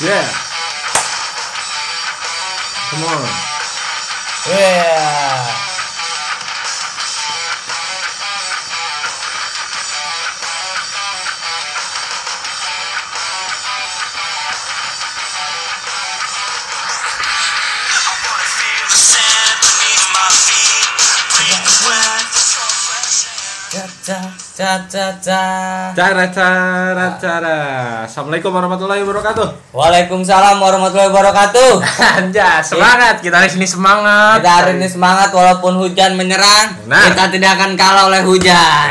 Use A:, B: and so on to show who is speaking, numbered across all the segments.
A: Yeah. Come on.
B: Yeah. Caca, caca, caca.
A: Cara cara cara. Assalamualaikum warahmatullahi wabarakatuh.
B: Waalaikumsalam warahmatullahi wabarakatuh.
A: Anja, semangat. Kita hari ini semangat.
B: Kita hari ini semangat walaupun hujan menyerang,
A: Nah.
B: kita tidak akan kalah oleh hujan.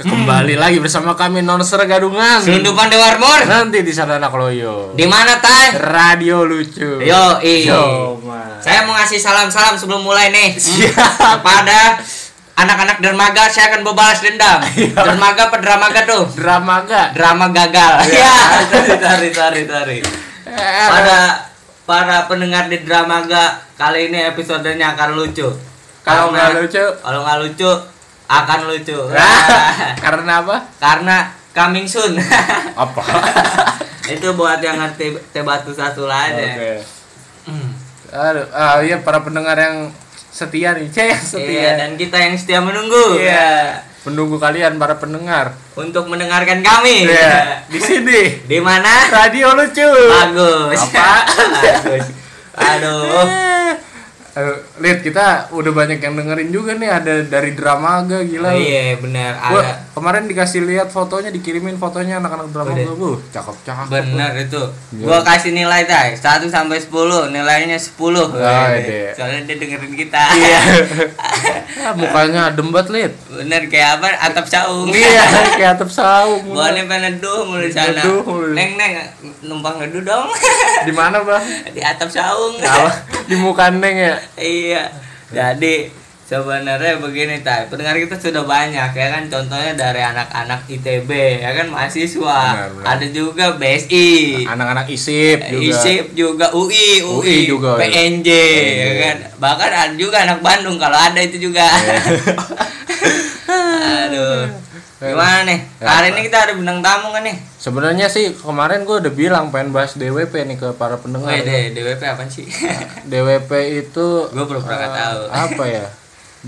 A: Kembali lagi bersama kami Nonser Gadungan.
B: Selundupan Dewa Armor.
A: Nanti di sana anak loyo.
B: Di mana, Tay?
A: Radio lucu.
B: Yo, i.
A: Yo, man.
B: Saya mau ngasih salam-salam sebelum mulai nih. Kepada anak-anak dermaga saya akan berbalas dendam. dermaga apa dramaga tuh?
A: drama gak?
B: Drama gagal.
A: Iya.
B: tarik, tarik, tarik, tarik. Pada para pendengar di Dramaga, kali ini episodenya akan lucu.
A: Kalau
B: Karena-
A: nggak lucu.
B: kalau nggak lucu akan lucu.
A: Karena apa?
B: Karena coming soon.
A: Apa?
B: Itu buat yang ngerti tebatu satu aja. Iya,
A: Oke. Hmm. Aduh, ah, iya para pendengar yang setia nih, Cek yang setia.
B: Iya, dan kita yang setia menunggu.
A: Iya. Menunggu kalian para pendengar.
B: Untuk mendengarkan kami.
A: Iya, di sini.
B: Di mana?
A: Radio lucu.
B: Bagus.
A: Apa?
B: Bagus. Aduh.
A: Eh, Aduh, Lid, kita udah banyak yang dengerin juga nih ada dari Dramaga gila. lu.
B: Iya, benar
A: Gua
B: ada.
A: kemarin dikasih lihat fotonya, dikirimin fotonya anak-anak Dramaga. Uh,
B: Udah.
A: cakep-cakep.
B: Bener itu. Gua kasih nilai tay 1 sampai 10, nilainya 10.
A: Ah,
B: Wede.
A: iya.
B: Soalnya dia dengerin kita.
A: Iya. Ah, mukanya adem banget, Lid.
B: Bener kayak apa? Atap saung.
A: Iya, kayak atap saung.
B: Gua nih pengen neduh mulu di sana.
A: Neduh mulu.
B: Neng neng numpang neduh dong.
A: Di mana, Bang?
B: di atap saung.
A: Apa? Di muka Neng ya.
B: iya. Jadi sebenarnya begini tay pendengar kita sudah banyak ya kan contohnya dari anak-anak ITB ya kan mahasiswa
A: Benar, benar.
B: ada juga BSI
A: Anak-anak Eh, isip juga.
B: ISIP juga UI, UI,
A: UI juga.
B: PNJ, ya kan. Bahkan ada juga anak Bandung kalau ada itu juga. Aduh. Gimana nih?
A: Ya,
B: Hari ini kita ada bintang tamu kan nih?
A: Sebenarnya sih kemarin gue udah bilang pengen bahas DWP nih ke para pendengar. ya.
B: Wede, DWP apa sih?
A: DWP itu
B: Gue pura-pura nggak
A: eh,
B: tahu.
A: Apa ya?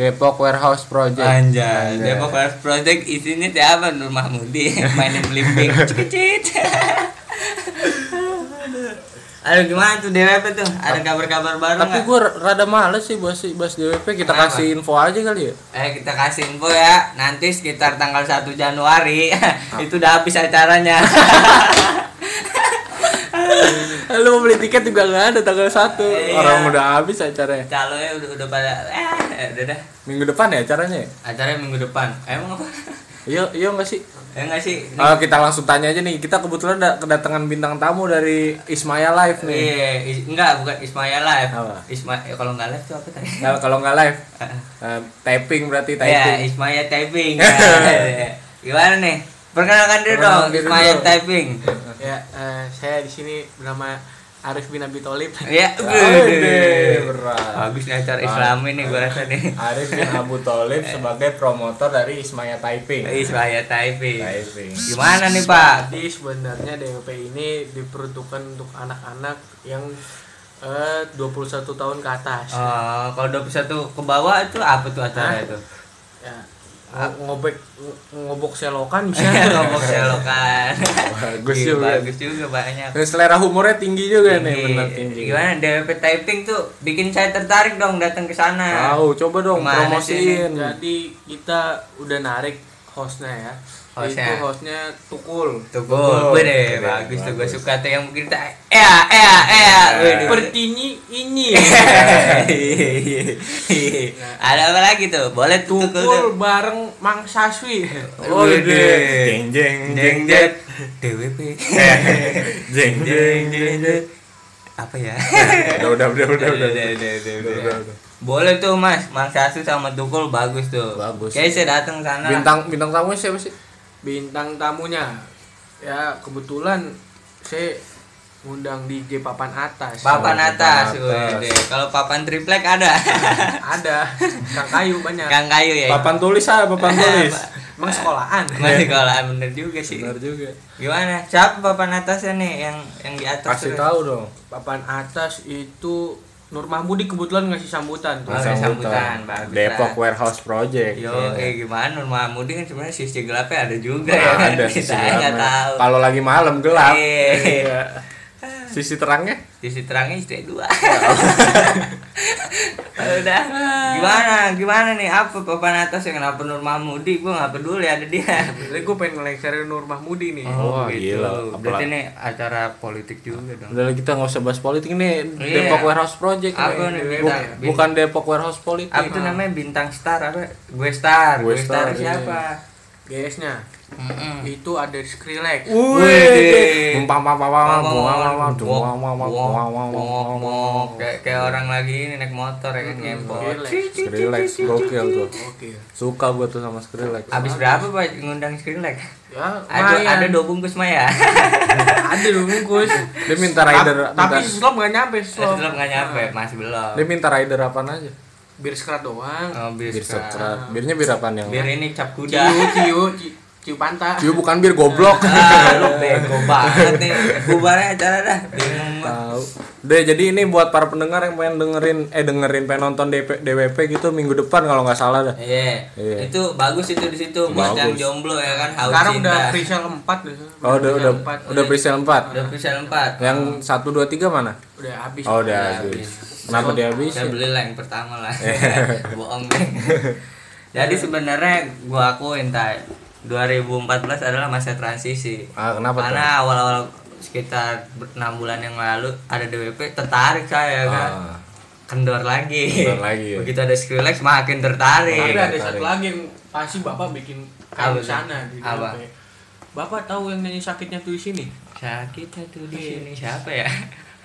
A: Depok Warehouse Project.
B: Anjay, Depok Forest Project isinya siapa? Nur Mahmudi mainin belimbing. Cicit. Aduh gimana tuh DWP tuh? Ada kabar-kabar baru
A: Tapi
B: nggak?
A: gue rada males sih bahas bahas DWP. Kita
B: Kenapa?
A: kasih info aja kali ya.
B: Eh kita kasih info ya, nanti sekitar tanggal 1 Januari itu udah habis acaranya.
A: Eh, Lu mau beli tiket juga nggak ada tanggal 1
B: Iya.
A: Orang udah habis acaranya.
B: Calonnya udah udah pada eh udah dah.
A: Minggu depan ya acaranya. ya?
B: Acaranya minggu depan. Emang apa?
A: Iya, iya nggak sih?
B: Ya enggak sih? Ini-
A: Eh, kita langsung tanya aja nih. Kita kebetulan ada kedatangan bintang tamu dari Ismaya Live nih.
B: Iya, is- enggak bukan Ismail live.
A: Apa?
B: Ismail kalau enggak live tuh apa tadi?
A: Nah, kalau nggak live, eh, typing berarti
B: Ya,
A: typing.
B: Ismail typing. Ya. Gimana nih? Perkenalkan diri
A: Perkenalkan
B: dong,
A: diri
B: Ismail
A: dong.
B: typing.
C: Ya, eh, saya di sini bernama Arif bin Abi Tholib.
B: Ya,
A: Wede,
B: gede.
A: berat.
B: Bagus nih acara Islami nih gua rasa nih.
A: Arif bin Abu Talib sebagai promotor dari Ismaya Typing.
B: Ismail typing.
A: Typing.
B: Gimana nih Pak?
C: Jadi sebenarnya DWP ini diperuntukkan untuk anak-anak yang eh, 21 tahun ke atas.
B: Eh, kalau 21 ke bawah itu apa tuh acara itu?
C: Ya, ngo- ngobek ngo- ngobok selokan bisa.
B: Ngomong selokan.
A: Bagus
B: Iya,
A: juga.
B: Bagus juga banyak.
A: Dan selera humornya tinggi juga nih,
B: Tinggi.
A: benar tinggi.
B: Gimana DWP typing tuh bikin saya tertarik dong datang ke sana.
A: Tahu, coba dong
B: Gimana
A: promosiin.
C: Jadi kita udah narik hostnya ya.
B: Hostnya.
C: Itu hostnya Tukul.
B: Tukul,
A: Gede,
B: gede, bagus tuh gue
A: bagus.
B: suka tuh yang mungkin kita eh eh eh.
C: Pertini ini.
B: Iya, Ada apa lagi tuh? Boleh tuh tukul tuh.
C: Tukul bareng Mang Saswi.
B: Wede.
A: Jeng jeng
B: Jeng jeng DWP.
A: Jeng
B: Jeng jeng jeng. Apa ya?
A: Udah udah udah udah udah.
B: Udah, udah, udah, udah.
A: udah, udah.
B: Boleh tuh Mas, Mang Sasu sama Tukul bagus tuh.
A: Bagus.
B: Kayaknya saya datang sana.
A: Bintang bintang tamu siapa sih?
C: bintang tamunya ya kebetulan saya ngundang DJ papan atas
A: Papan
B: Papan atas,
A: atas.
B: wede. Kalau papan triplek ada.
C: ada kang kayu banyak
B: Kang kayu ya.
A: Papan tulis ah, papan tulis.
C: Emang sekolahan.
B: Masih kalau bener juga sih.
A: benar juga
B: Gimana? Siapa papan atasnya nih yang yang di atas?
A: kasih
B: tuh?
A: tahu dong
C: Papan atas itu Nur Mahmudi kebetulan ngasih sambutan tuh.
B: Oke,
A: Langsung
B: sambutan,
A: hutan.
B: bagus
A: Depok
B: lah.
A: Warehouse Project
B: Yo,
A: Iya.
B: eh gimana Nur Mahmudi kan sebenarnya sisi gelapnya ada juga ya kan?
A: ada sisi
B: Kita nggak
A: gelapnya.
B: tahu.
A: Kalau lagi malam gelap.
B: Iya. Ah.
A: Iya. Sisi terangnya?
B: Sisi terangnya istri dua.
A: Ya
B: Udah.
A: Ah.
B: Gimana? Gimana nih? Apa papan atas yang kenapa Nur Mahmudi? Gue nggak peduli ada dia.
C: Sebenernya gue pengen ngelengserin Nur Mahmudi nih.
A: Oh,
B: gitu.
A: gila. Apalagi-
B: Berarti ini acara politik juga dong.
A: Udah kita nggak usah bahas politik nih
B: Iya.
A: Depok Warehouse Project
B: Apa
A: nih.
B: nih,
A: Bu-
B: bintang, bintang.
A: bukan Depok Warehouse Politik.
B: Apa tuh namanya bintang star apa? Gue star.
A: Gue
B: Gue star,
A: Star, iya.
B: siapa?
C: GS-nya
B: Mm-mm.
C: itu ada Skrillex.
A: Wih, mumpam pam pam pam pam
B: kayak kayak orang lagi ini naik motor ya kan ngempot
C: Relax.
A: Skrillex gokil tuh.
C: Oke.
A: Suka gua tuh sama Skrillex.
B: Abis berapa pak ngundang Skrillex?
C: Ya,
B: Ada
C: lumayan.
B: ada dua bungkus ya? Maya.
C: ada dong bungkus.
A: Dia minta rider,
C: tapi
A: minta-
C: slop nggak nyampe slop.
B: Belum nggak nyampe,
A: Nah.
B: masih belum.
A: Dia minta rider apaan aja?
C: Bir sekerat doang.
B: Oh, bir
A: Bir
B: sekarang.
A: sekrat. Birnya bir apaan yang?
B: Bir ini cap
C: Ciu,
A: Iya.
B: kuda.
C: ciu, ciu, ciu panta.
A: Ciu bukan bir goblok.
B: Ah, lu bego banget nih. Bubarnya acara dah. Bingung gua.
A: Tahu. Deh, jadi ini buat para pendengar yang pengen dengerin eh dengerin pengen nonton DP, DWP gitu minggu depan kalau nggak salah dah.
B: Iya.
A: Iya.
B: Itu bagus itu di situ buat
A: Bagus.
B: yang jomblo ya kan haus
C: Sekarang udah
B: cinta.
C: presale 4 deh.
A: Oh, udah udah
C: empat.
A: udah
B: iya.
A: presale 4.
B: Udah bisa empat.
A: Yang 1 2 3 mana?
C: Udah habis.
A: Oh, udah
B: habis.
A: habis. Kenapa dia habis?
B: Saya beli lah yang pertama lah.
A: Iya.
B: Bohong Bang. Jadi sebenarnya gua akuin tay 2014 adalah masa transisi.
A: Ah, kenapa tuh?
B: Karena awal-awal sekitar ber- enam bulan yang lalu ada DWP tertarik saya kan.
A: Ah.
B: Kendor lagi.
A: Kendor lagi, ya.
B: Begitu ada Skrillex makin tertarik.
C: Tapi ada
A: tarik.
C: satu lagi yang pasti Bapak bikin
B: Apa
C: kayak
B: tuh?
C: sana di
B: Apa?
C: DP. Bapak tahu yang nyanyi sakitnya tuh di sini?
B: Sakit tuh di sini siapa ya?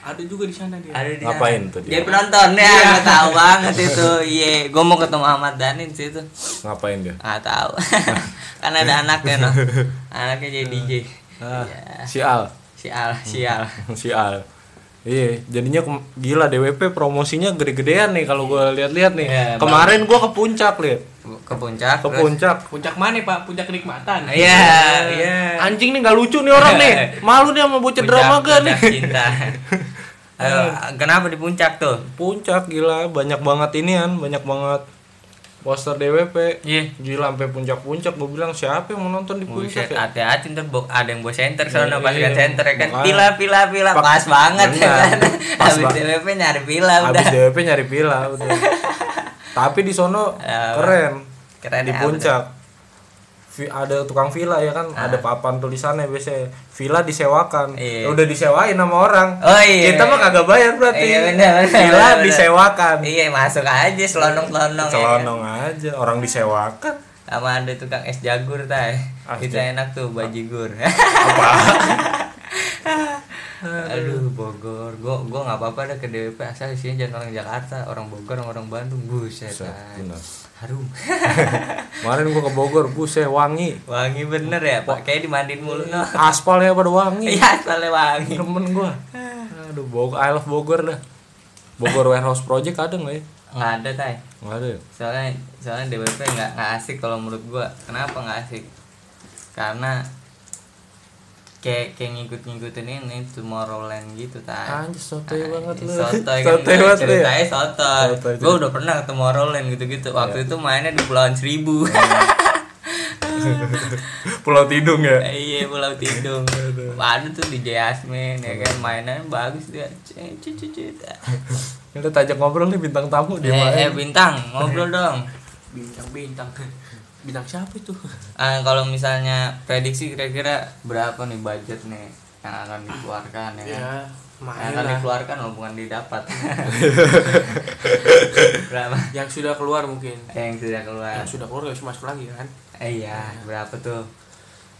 C: Ada juga di sana dia.
B: Ada di
A: Ngapain
B: sana.
A: tuh dia? Iya.
B: Dia penonton ya, gua tahu banget itu. Iya, gua mau ketemu Ahmad Dhani di situ.
A: Ngapain dia?
B: nggak tahu kan ada anaknya no anaknya jadi DJ
A: Ah.
B: Iya.
A: Si Al.
B: sial sial
A: Si Al. Iya, jadinya kem- gila DWP promosinya gede-gedean nih kalau gua lihat-lihat nih.
B: Iya,
A: Kemarin gua ke puncak lihat.
B: ke puncak
A: Ke
B: terus-
A: puncak.
C: Puncak mana, Pak? Puncak kenikmatan.
B: iya iya
A: Anjing nih nggak lucu nih orang nih. Malu dia sama bocah
B: Puncak-
A: drama gak nih.
B: puncak cinta Ayo, kenapa di puncak tuh
A: Puncak gila, banyak banget inian, banyak banget poster DWP.
B: iya
A: Gila sampai puncak-puncak gue bilang siapa yang mau nonton di puncak
B: Buset,
A: ya?
B: hati-hati ntar bo- ada yang bawa center sono
A: Iya,
B: pas
A: iya.
B: lihat center ya kan
A: Makanya.
B: pila pila pila
A: Pak-
B: pas banget ya
A: Benar.
B: kan
A: Pas
B: habis
A: banget.
B: DWP nyari pila udah
A: Habis DWP nyari villa betul. Tapi di sono
B: Ya,
A: keren.
B: Keren
A: di
B: ya,
A: puncak. Vi- ada tukang villa ya kan, ada papan tulisannya biasanya villa disewakan.
B: Ah.
A: Ya
B: Iya.
A: Udah disewain sama orang.
B: Oh, iya.
A: Kita mah kagak bayar berarti.
B: Iya, benar, benar,
A: villa
B: benar. ya, kan?
A: disewakan.
B: iya masuk aja selonong selonong
A: Celonong aja, orang disewakan.
B: sama ada tukang es jagur tay
A: Ah,
B: itu
A: ja-
B: enak tuh bajigur
A: Apa?
B: aduh Bogor gua gua nggak apa-apa deh ke DWP asal isinya jangan orang Jakarta orang Bogor orang, orang Bandung buset Tay.
A: Benar.
B: harum
A: Kemarin gua ke Bogor, buset wangi.
B: wangi bener ya pak kayak dimandiin mulu no
A: Aspalnya ya, pada wangi.
B: iya soalnya wangi
A: Temen gua. Aduh, Bogor, I love Bogor dah. Bogor Warehouse Project ada nggak ya?
B: nggak ada tay
A: Nggak ada ya?
B: soalnya soalnya DWP nggak nggak asik kalau menurut gua kenapa nggak asik karena kayak kayak ngikut-ngikutin ini Tomorrowland gitu tay
A: Anjir, sotoy banget lu.
B: Sotoy kan
A: Sotoy banget lu ya?
B: ceritanya sotoy.
A: Sotoy, Iya.
B: Gue udah pernah ke Tomorrowland gitu-gitu. Waktu itu mainnya di Pulauan Seribu.
A: Pulau Tidung ya?
B: Iya Pulau Tidung. Waduh tuh di Jasmine ya kan mainnya bagus dia. Cet, cet, cet, cet.
A: Kita tajak ngobrol nih bintang tamu dia
B: Eh, eh,
A: main.
B: bintang ngobrol dong.
C: Bintang-bintang. Bintang siapa itu?
B: Ah, kalau misalnya prediksi kira-kira berapa nih budget nih yang akan dikeluarkan ya kan?
C: Ya,
B: Yang
C: main
B: akan
C: lah.
B: dikeluarkan loh bukan didapat. berapa?
C: Yang sudah keluar mungkin.
B: Yang sudah keluar.
C: Yang sudah keluar nggak bisa masuk lagi kan?
B: Eh, iya, berapa tuh?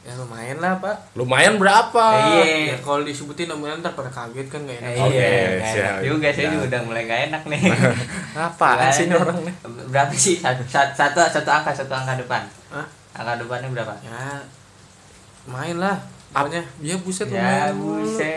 C: Ya lumayan lah, Pak.
A: Lumayan berapa?
B: Iya.
C: Ya, kalau disebutin nomornya ntar pada kaget kan nggak enak.
B: Eh, Iya, nggak
A: siap. Ya.
B: enak juga saya juga udah mulai gak enak nih.
A: Apaan sih
B: Iya.
A: ini orang nih?
B: Berapa sih satu, satu, satu, satu angka satu angka depan?
C: Hah?
B: Angka depannya berapa?
C: Ya, main lah. Apanya? Ya buset
B: Ya
C: lumayan.
B: buset.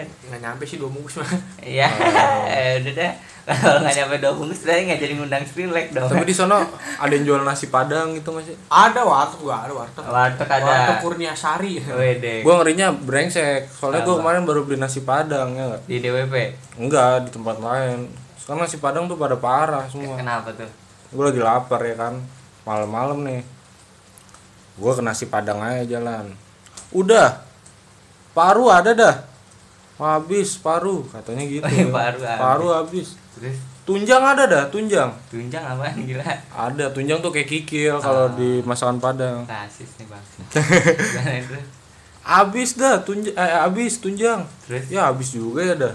B: deh
C: nggak nyampe sih dua bungkus mah
B: Iya,
A: Oh.
B: udah deh. Kalau nggak nyampe dua bungkus, saya nggak jadi ngundang Skrillex dong.
A: Tapi di sana ada yang jual nasi padang gitu masih.
C: ada warteg gua ada warteg
B: Warteg ada.
C: warteg Kurnia Sari
B: Wede
A: Gue ngerinya brengsek. Soalnya gue
B: Apa?
A: kemarin baru beli nasi padang ya nggak?
B: di DWP.
A: Enggak di tempat lain. Sekarang nasi padang tuh pada parah semua.
B: Kenapa tuh?
A: Gue lagi lapar ya kan. Malam-malam nih. Gue ke nasi padang aja jalan. Udah. Paru ada dah. Habis paru katanya gitu. ya.
B: Paru habis.
A: paru habis.
B: Terus
A: Tunjang ada dah, tunjang.
B: tunjang apaan gila?
A: Ada tunjang tuh kayak kikil kalau di masakan Padang.
B: Rasis nih bang. Jangan terus.
A: Abis dah tunjang eh, abis tunjang.
B: Terus?
A: Ya abis juga ya dah.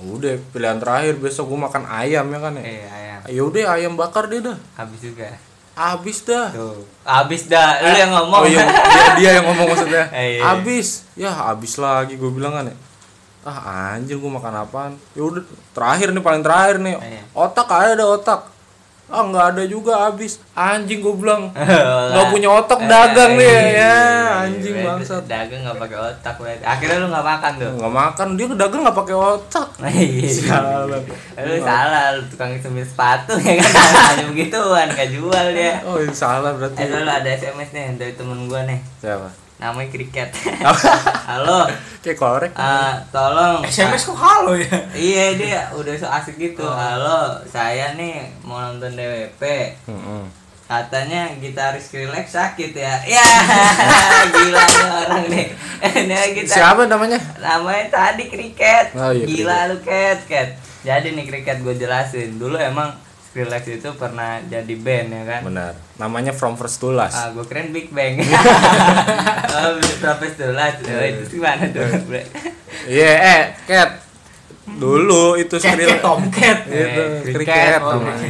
A: Udah pilihan terakhir besok gua makan ayam ya kan ya.
B: Eh ayam.
A: Ya udah ayam bakar deh dah.
B: Habis juga.
A: Abis dah.
B: Tuh. Habis dah. Lu yang ngomong.
A: Oh iya, dia, dia yang ngomong maksudnya.
B: Eh, iya.
A: Abis. Ya abis lagi gua bilang kan ya. Ah anjir gua makan apaan? Ya udah terakhir nih paling terakhir nih.
B: Eh, iya.
A: Otak ada otak. Ah nggak ada juga abis. Anjing gua bilang. Nggak punya otak
B: Eh,
A: dagang
B: iya,
A: nih ya,
B: iya,
A: anjing
B: Wede.
A: bangsat.
B: Dagang nggak pakai otak. Wede. Akhirnya lu nggak makan tuh.
A: nggak makan dia dagang nggak pakai otak
B: Iya.
A: Jalan.
B: Lu salah, lu tukang semir sepatu ya kan Hanya begituan, gak jual dia
A: oh ini salah
B: Eh
A: berarti
B: lu ada SMS nih dari temen gua nih
A: siapa
B: Namanya Kriket
A: Oh.
B: Halo,
A: kayak korek
B: eh, tolong
C: SMS kok halo ya
B: Ah, Iya dia udah so asik gitu
A: Oh.
B: Halo, saya nih mau nonton DWP
A: Mm-mm.
B: Katanya gitaris Skrillex sakit ya Ya, gila nih orang nih Nah, kita
A: siapa namanya
B: namanya tadi kriket
A: Oh, iya,
B: gila lu ket ket jadi nih kriket gue jelasin dulu emang Skrillex itu pernah jadi band ya kan
A: benar namanya from first to last
B: ah gue keren Big Bang oh, profesor lah itu gimana tuh
A: iya eh cat dulu itu
C: Cat
A: Skrillex
C: Tomcat
A: itu
B: Eh, Cricket,
A: Cricket
B: oh,
A: namanya.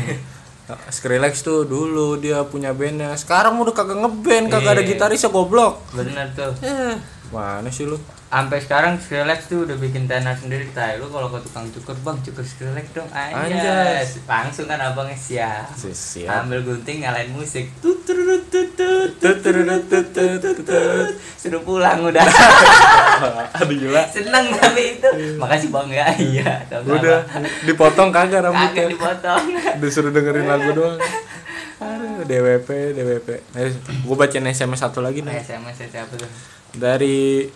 A: Skrillex tuh dulu dia punya bandnya sekarang udah kagak ngeband kagak ada
B: Iya.
A: gitarisnya goblok
B: bener tuh
A: eh, mana sih lu
B: sampai sekarang Skrillex tuh udah bikin tenar sendiri tay lu kalau ke tukang cukur bang cukur Skrillex dong aja
A: Anjas.
B: langsung kan abangnya siap
A: Si- siap
B: ambil gunting nyalain musik tut turut, tut tut tut turut, tut tut tut tut. suruh pulang udah
A: aduh gila
B: seneng tapi itu makasih bang ya iya tau nggak,
A: udah
B: Bang?
A: dipotong kagak
B: kagak
A: rambutnya
B: dipotong
A: disuruh dengerin lagu doang Aduh, DWP DWP eh, gue bacain SMS satu lagi nih
B: sms -nya siapa tuh
A: dari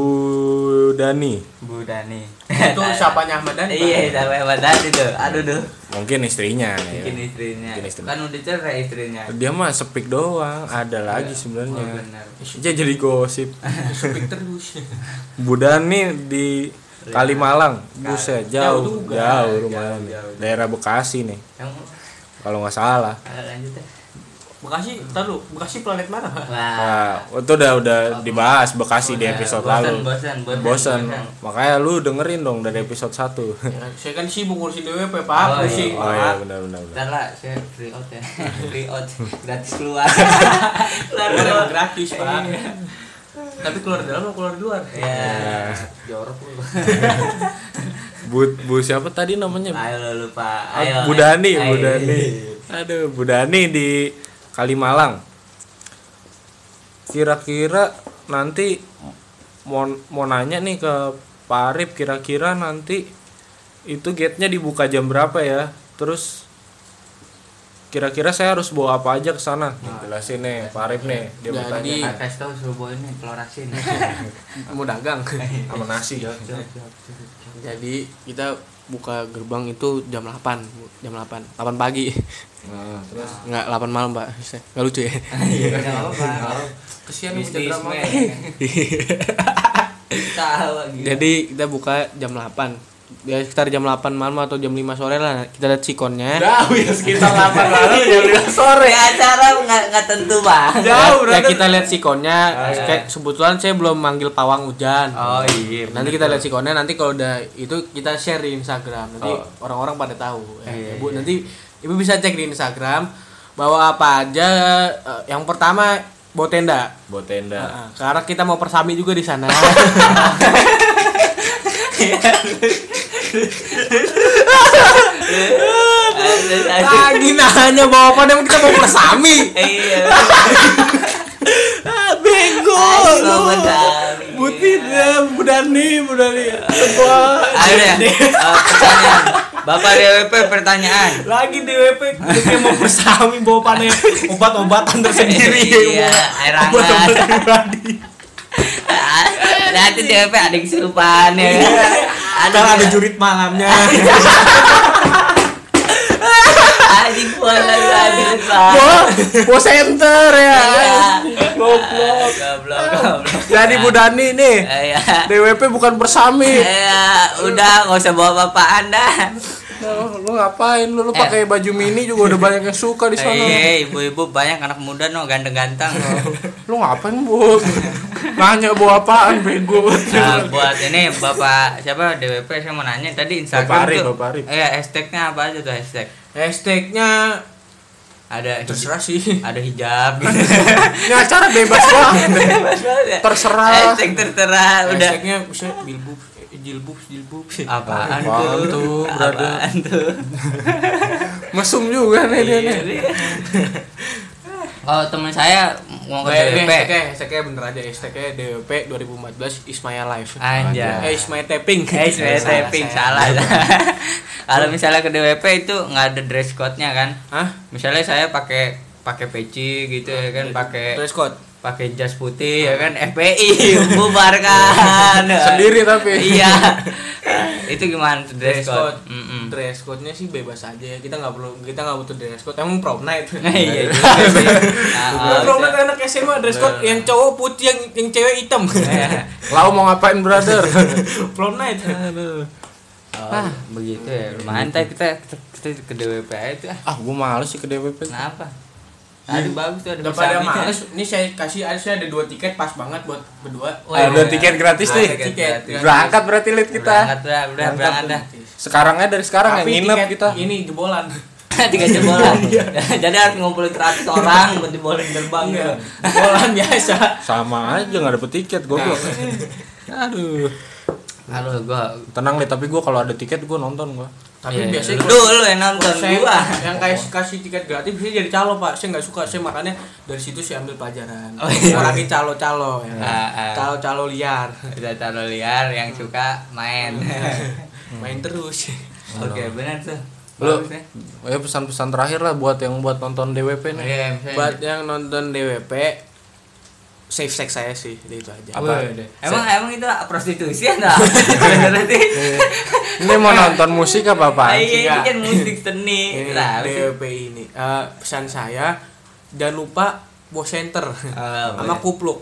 A: Bu Dani
B: Bu Dani
C: itu siapanya Ahmad Dhani
B: iya sama sama Dani tuh aduh duh
A: mungkin istrinya ya.
B: bikin istrinya
A: Bikin istrinya.
B: kan udah cerai istrinya
A: dia mah sepik doang ada lagi
B: oh,
A: sebenarnya
B: benar
A: dia jadi gosip
C: speak terus
A: Bu Dani di
B: Iya.
A: Kalimalang buset jauh jauh,
C: juga.
A: rumahnya nih.
B: jauh.
A: daerah Bekasi nih
B: yang
A: kalau nggak salah
B: ah, lanjut ya
C: Bekasi ntar lu Bekasi planet mana Pak?
B: wah
A: nah, itu udah udah dibahas Bekasi di episode
B: bosan,
A: lalu
B: bosan bosan
A: bosan makanya lu dengerin dong dari episode 1 oh
C: Ya, saya kan sibuk ngurusin DWP pak
B: Oh,
C: pusing
B: iya.
A: iya
C: Pak.
A: benar benar benar.
B: Ntar lah, saya free out ya Free out, gratis keluar Keluar
C: Keluar
B: dulu. Iya.
C: emang gratis pak tapi keluar dalam mau keluar luar
B: Ya,
A: Iya.
C: jorok lu
A: bu bu siapa tadi namanya
B: ayo lo lupa
A: Ah,
B: Ayo
A: Bu Dani
B: ayo. Iya.
A: Bu Dani aduh Bu Dani di Kalimalang kira-kira nanti mau mau nanya nih ke Pak Arif kira-kira nanti itu gate-nya dibuka jam berapa ya terus kira-kira saya harus bawa apa aja ke sana jelasin nih Pak Arif nih dia mau
C: Jadi-
A: tanya
B: Ah, kasih tau suruh bawa ini klorasin
C: Iya.
B: Oh.
C: mau dagang
B: Iya.
A: sama nasi ya.
C: jadi kita buka gerbang itu jam 8 Bu. jam 8 8 pagi
A: Nah, terus
C: nggak 8 malam pak nggak lucu ya
B: Iya, nggak apa-apa
C: kesian
B: Bisnis,
C: bocah drama.
B: men. Tahu gitu.
C: jadi kita buka jam 8 ya sekitar jam 8 malam atau jam 5 sore lah kita lihat sikonnya
A: jauh ya sekitar 8 malam jam 5 sore
B: Ya, acara nggak nggak tentu bang
A: jauh
C: ya,
A: berarti
C: kita lihat sikonnya
B: iya.
C: kayak kebetulan saya belum manggil pawang hujan
B: oh iya
C: nanti kita lihat sikonnya nanti kalau udah itu kita share di Instagram nanti
A: Oh.
C: orang-orang pada tahu ya,
B: Iya,
C: ibu nanti ibu bisa cek di Instagram bawa apa aja eh, yang pertama bawa tenda
A: buat tenda
C: Nah, karena kita mau persami juga di sana
B: Aduh, aduh.
C: lagi nanya bawa apa dan kita mau persami
B: iya
C: ah, bego
B: Sama Dani.
A: Putih ya, Budani, Budani. Wah,
B: Ayo deh, eh, pertanyaan. Bapak DWP pertanyaan.
A: lagi di WP dia mau bersami bawa panen obat-obatan tersendiri.
B: Iya, air hangat.
A: Obat-obatan pribadi.
B: Nanti DWP ada yang kesurupan ya. Ada
A: Kan ada jurit malamnya.
B: anjing gua lagi anjing Pak.
A: Wah, wah center ya.
B: Iya.
A: Goblok.
B: Goblok, goblok.
A: Jadi Budani nih,
B: Iya.
A: DWP bukan bersami.
B: Iya, udah nggak usah bawa bapak anda.
A: Nah, lu ngapain lu, lu pakai baju mini juga udah banyak yang suka di sana.
B: Iya, ibu-ibu banyak anak muda no ganteng-ganteng.
A: Lu ngapain, Bu? Nanya bawa apaan bego.
B: Nah, buat ini bapak siapa DWP saya mau nanya tadi Instagram
A: Bapak Arif,
B: tuh.
A: Bapak Arif.
B: Iya, hashtagnya apa aja tuh hashtag?
C: Hashtagnya
B: Ada hij-
C: terserah sih.
B: ada hijab gitu.
A: Ini acara bebas banget. Terserah.
B: hashtag tertera Ya, udah
C: Hashtagnya bisa jilbub, jilbub, jilbub.
B: apaan
A: Apaan
B: tuh?
A: tuh, brother?
B: Apaan tuh?
A: Mesum juga nih dia nih.
B: Oh, teman saya mau ke
C: Oke, oke,
B: DWP.
C: oke, hashtagnya bener ada hashtagnya DWP 2014 is my life.
B: Anjay.
C: Eh, is my tapping.
B: Eh, saya
C: Salah,
B: typing
C: saya.
B: salah. Kalau misalnya ke DWP itu nggak ada dress code-nya kan?
C: Hah?
B: Misalnya saya pakai pakai peci gitu ya kan, pakai
C: Iya, Dress code.
B: pakai jas putih ya kan, FPI bubar kan.
A: Sendiri tapi.
B: Iya. itu gimana tuh dress
C: Dress
B: code?
C: code.
B: Mm-mm.
C: Dress code-nya sih bebas aja ya. Kita nggak perlu kita nggak butuh dress code. Emang prom night. Ah,
B: Nah, iya juga sih. Nah, oh,
C: prom
B: bisa.
C: night anak SMA dress code yang cowok putih yang yang cewek hitam.
B: Iya.
A: Lau mau ngapain, brother?
C: prom night.
B: Oh, begitu ya. Lumayan teh kita, kita kita ke DWP aja tuh. ah.
A: ah, gua males sih ke DWP.
B: Kenapa? Tadi bagus tuh ada
C: Iya. Udah pada
B: persaminya.
C: males. Ini saya kasih eh, saya ada dua tiket pas banget buat berdua.
B: Wah,
A: Ada
B: iya.
A: Eh, tiket gratis
B: Ada
A: nih.
B: tiket
C: Tiket.
B: gratis.
A: Berangkat berarti lihat kita.
B: Berangkat dah, udah
A: Berangkat.
B: berangkat dah.
A: Sekarangnya dari sekarang ya
C: Tapi
A: nginep
C: tiket
A: kita.
C: Ini jebolan.
B: Tiga jebolan.
C: Iya.
B: Jadi harus ngumpulin 100 orang buat jebolin gerbang gitu.
C: Jebolan biasa.
A: Sama aja nggak dapet tiket
B: Nah.
A: goblok. Aduh.
B: Aduh, gua
A: Tenang deh, tapi gua kalau ada tiket gua nonton gua.
C: Tapi
B: Iya,
C: biasanya
B: lu lu yang nonton
C: saya
B: gua.
C: yang kayak kasih tiket gratis bisa jadi calo pak saya nggak suka saya makanya dari situ saya ambil pelajaran
B: Oh, iya.
C: orangnya calo calo ya kan?
B: Ah, ah.
C: calo calo liar
B: Udah taruh liar yang suka main.
C: main terus
B: Oke, benar tuh.
A: Lu
B: Bagus, ya.
A: ya pesan-pesan terakhir lah buat yang buat nonton DWP nih.
B: Oke, misalnya-
C: buat yang nonton DWP safe sex saya sih jadi itu aja
A: Apa?
B: Emang emang itu prostitusi ya, atau apa? Sebenarnya sih.
A: Ini mau nonton musik apa apa?
B: Iya, ini
C: enggak.
B: kan musik seni.
C: ini
B: Nah, sih.
C: DWP ini Eh, pesan saya jangan lupa bos center
B: Ah,
C: sama
B: boleh. Ah,
C: kupluk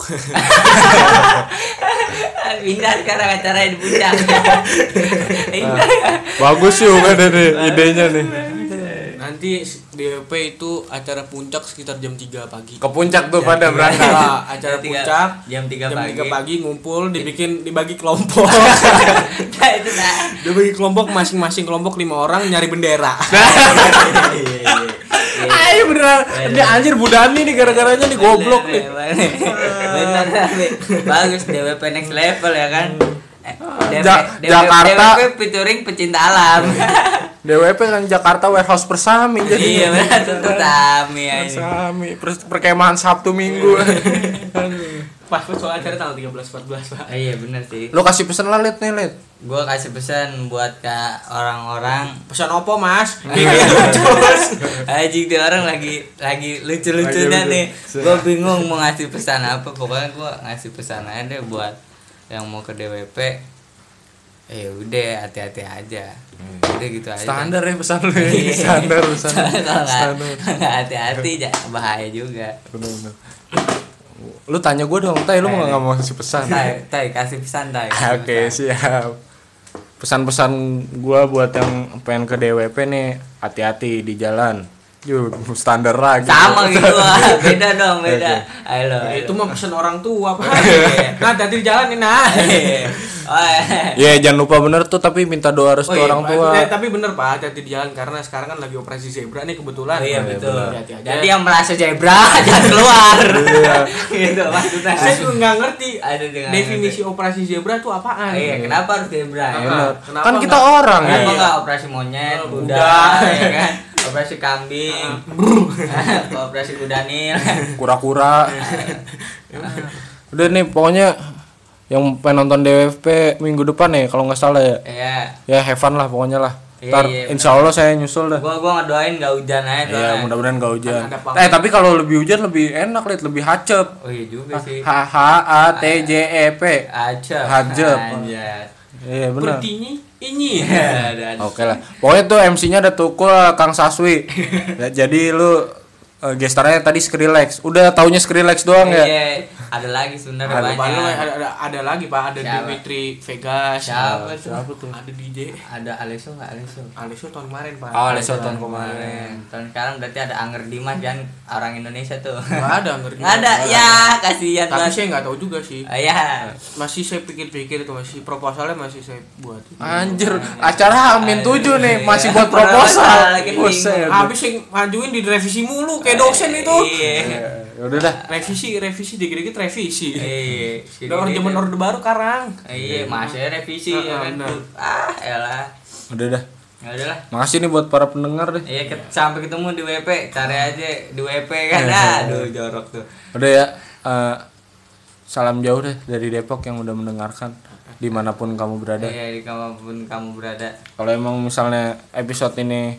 B: Pindah sekarang acara di puncak. Pindah.
A: Bagus juga deh nih, idenya nih.
C: nanti DWP itu acara puncak sekitar jam 3 pagi
A: Ke puncak
B: Iya,
A: tuh pada berangkat.
C: Nah, acara
B: Jam tiga-
C: puncak
B: jam tiga
C: jam
B: pagi.
C: 3 pagi ngumpul dibikin dibagi kelompok
B: Nah, itu nah.
C: dibagi kelompok masing-masing kelompok lima orang nyari bendera
B: Nah, Iya,
A: Ayo beneran, ini anjir Budani nih gara-garanya
B: Iya,
A: nih Iya, goblok nih.
B: Benar iya. tapi bagus DWP next level ya kan. Eh, DWP
A: Ja- Jakarta.
B: DWP featuring pecinta alam.
A: DWP kan Jakarta Warehouse Persami
B: iya
A: jadi.
B: benar tentu kami ya ini.
A: Persami, per- perkemahan Sabtu Minggu.
C: pas soal acara tanggal 13 14 pak
B: Ah, iya benar sih.
A: Lo kasih pesan lah Lid nih Lid.
B: Gua kasih pesan buat ke orang-orang
C: pesan opo mas
B: Aji tuh orang lagi lagi lucu-lucunya
A: Lagi lucu.
B: nih. Gue bingung mau ngasih pesan apa. Pokoknya gue ngasih pesan aja deh buat yang mau ke DWP. Eh udah hati-hati aja. Udah gitu aja.
A: Hmm. Standar ya pesan lu. ya. Standar pesan.
B: Kalau nggak-
A: Standar.
B: nggak hati-hati ya bahaya juga.
A: Bener-bener. Lu tanya gue dong, Tay, lu mau nggak mau kasih pesan?
B: Tai, tai kasih pesan tai.
A: Ah, Oke siap. Pesan-pesan gua buat yang pengen ke DWP nih hati-hati di jalan. Yuk standar lagi.
B: Sama gitu lah. Beda dong, beda. Halo.
C: Nah, itu
B: halo.
C: mah pesan orang tua pak
B: Iya.
C: nah tadi di jalan nih nah
B: Oh, eh.
A: Ya jangan lupa bener tuh tapi minta doa restu
C: Oh iya,
A: orang
C: Pak.
A: tua.
C: Eh, tapi bener pak hati-hati di jalan karena sekarang kan lagi operasi zebra nih kebetulan
B: Oh iya betul.
C: hati-hati aja
B: Jadi yang merasa zebra jangan keluar.
A: Iya.
B: gitu maksudnya.
C: saya juga nggak ngerti
B: Ada dengan
C: definisi operasi zebra tuh apaan
B: Iya, kenapa harus zebra? Ya?
A: Bener.
C: kenapa
A: Kan kita
C: nggak-
A: orang ya.
B: Kenapa
C: Iya.
B: nggak operasi monyet,
C: Oh,
B: kuda,
C: kuda.
B: ya kan? Operasi kambing, operasi kuda nil. Iya.
A: Kura-kura. Udah nih pokoknya yang pengen nonton DWFP minggu depan ya kalau nggak salah ya
B: Iya.
A: ya have fun lah pokoknya lah
B: Iya,
A: ntar
B: iya,
A: insya Allah saya nyusul dah
B: Gua gua ngedoain gak hujan aja soalnya.
A: ya mudah-mudahan nggak hujan
C: Ada panggung.
A: eh tapi kalau lebih hujan lebih enak lihat lebih hacep
B: Oh iya juga sih.
A: H H A T J E P
B: Ajab.
A: Ajab.
B: Anjay.
A: iya benar
C: Bertinya ini. ya?
B: Iya, dan
A: Oke lah. Pokoknya tuh MC-nya ada Tukul, Kang Saswi. Ya, jadi lu eh, gestarnya tadi Skrillex. Udah taunya Skrillex doang ya?
B: Iya, ada lagi sebenarnya
A: Ada
B: banyak.
C: Depan lu ada, ada, ada lagi pak, ada
B: Siapa?
C: Dimitri Vegas.
B: Siapa tuh?
C: Siapa tuh? Ada DJ.
B: Ada Aleso nggak Aleso?
C: Alisio tahun kemarin pak.
A: Oh, Aleso tahun kemarin.
B: Tahun sekarang berarti ada Anger Dimas kan orang Indonesia tuh.
C: Gak ada ngerti.
B: Nggak ada. Ya, kasihan
C: Tapi
B: banget.
C: saya nggak tahu juga sih.
B: Ah, Ya.
C: Masih saya pikir-pikir itu masih proposalnya masih saya buat.
A: Anjir, acara Amin 7 nih masih buat
B: Iya, padahal
A: proposal.
B: lagi
A: Buset.
C: Habis yang majuin di revisi mulu kayak dosen itu.
B: Iya.
A: Ya, ya udah dah.
C: Revisi, revisi dikit-dikit revisi.
B: Iya.
C: Udah zaman orde baru karang.
B: Iya, masih revisi ya
C: Ah,
B: kan.
C: benar.
B: Ah, elah.
A: Udah dah.
B: Ya udahlah.
A: Makasih nih buat para pendengar deh.
B: Iya, ke- sampai ketemu di WP. Cari
C: Ah.
B: aja di WP kan. Aduh, jorok tuh.
A: Udah ya. eh, salam jauh deh dari Depok yang udah mendengarkan dimanapun kamu berada.
B: Iya, di kamanapun kamu berada.
A: Kalau emang misalnya episode ini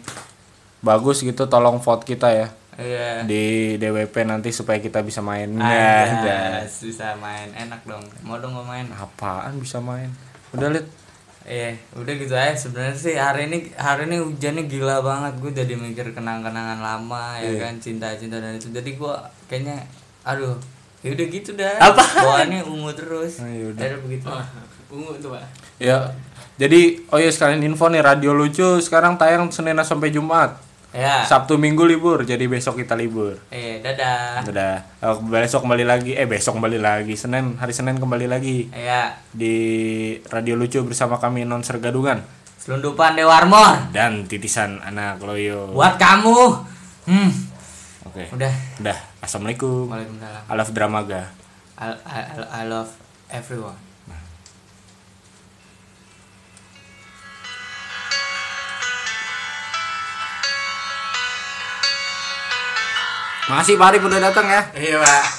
A: bagus gitu, tolong vote kita ya.
B: Iya.
A: di DWP nanti supaya kita bisa main.
B: Ada bisa main enak dong. Mau dong gua main.
A: Apaan bisa main? Udah lihat.
B: Iya, udah gitu aja sebenarnya sih hari ini hari ini hujannya gila banget gue jadi mikir kenang-kenangan lama ya kan cinta-cinta dan itu jadi gue kayaknya aduh ya udah gitu dah apa bawaannya ungu terus
A: Ah, ya udah.
B: Akhirnya begitu
C: Oh, Ungu itu pak.
A: Ya. Jadi oh ya sekalian info nih Radio Lucu sekarang tayang Senin sampai Jumat.
B: ya
A: Sabtu Minggu libur, jadi besok kita libur.
B: eh dadah
A: Udah. Eh, besok kembali lagi. Eh besok kembali lagi. Senin hari Senin kembali lagi
B: ya
A: di Radio Lucu bersama kami Non Sergadungan
B: selundupan Dewarmor
A: dan titisan anak loyo.
B: buat kamu hmm
A: Oke.
B: udah
A: Udah. Assalamualaikum.
B: waalaikumsalam
A: Alaf Dramaga.
B: I, I, I- I love everyone
A: Makasih Pak Arif udah datang ya.
C: Iya pak.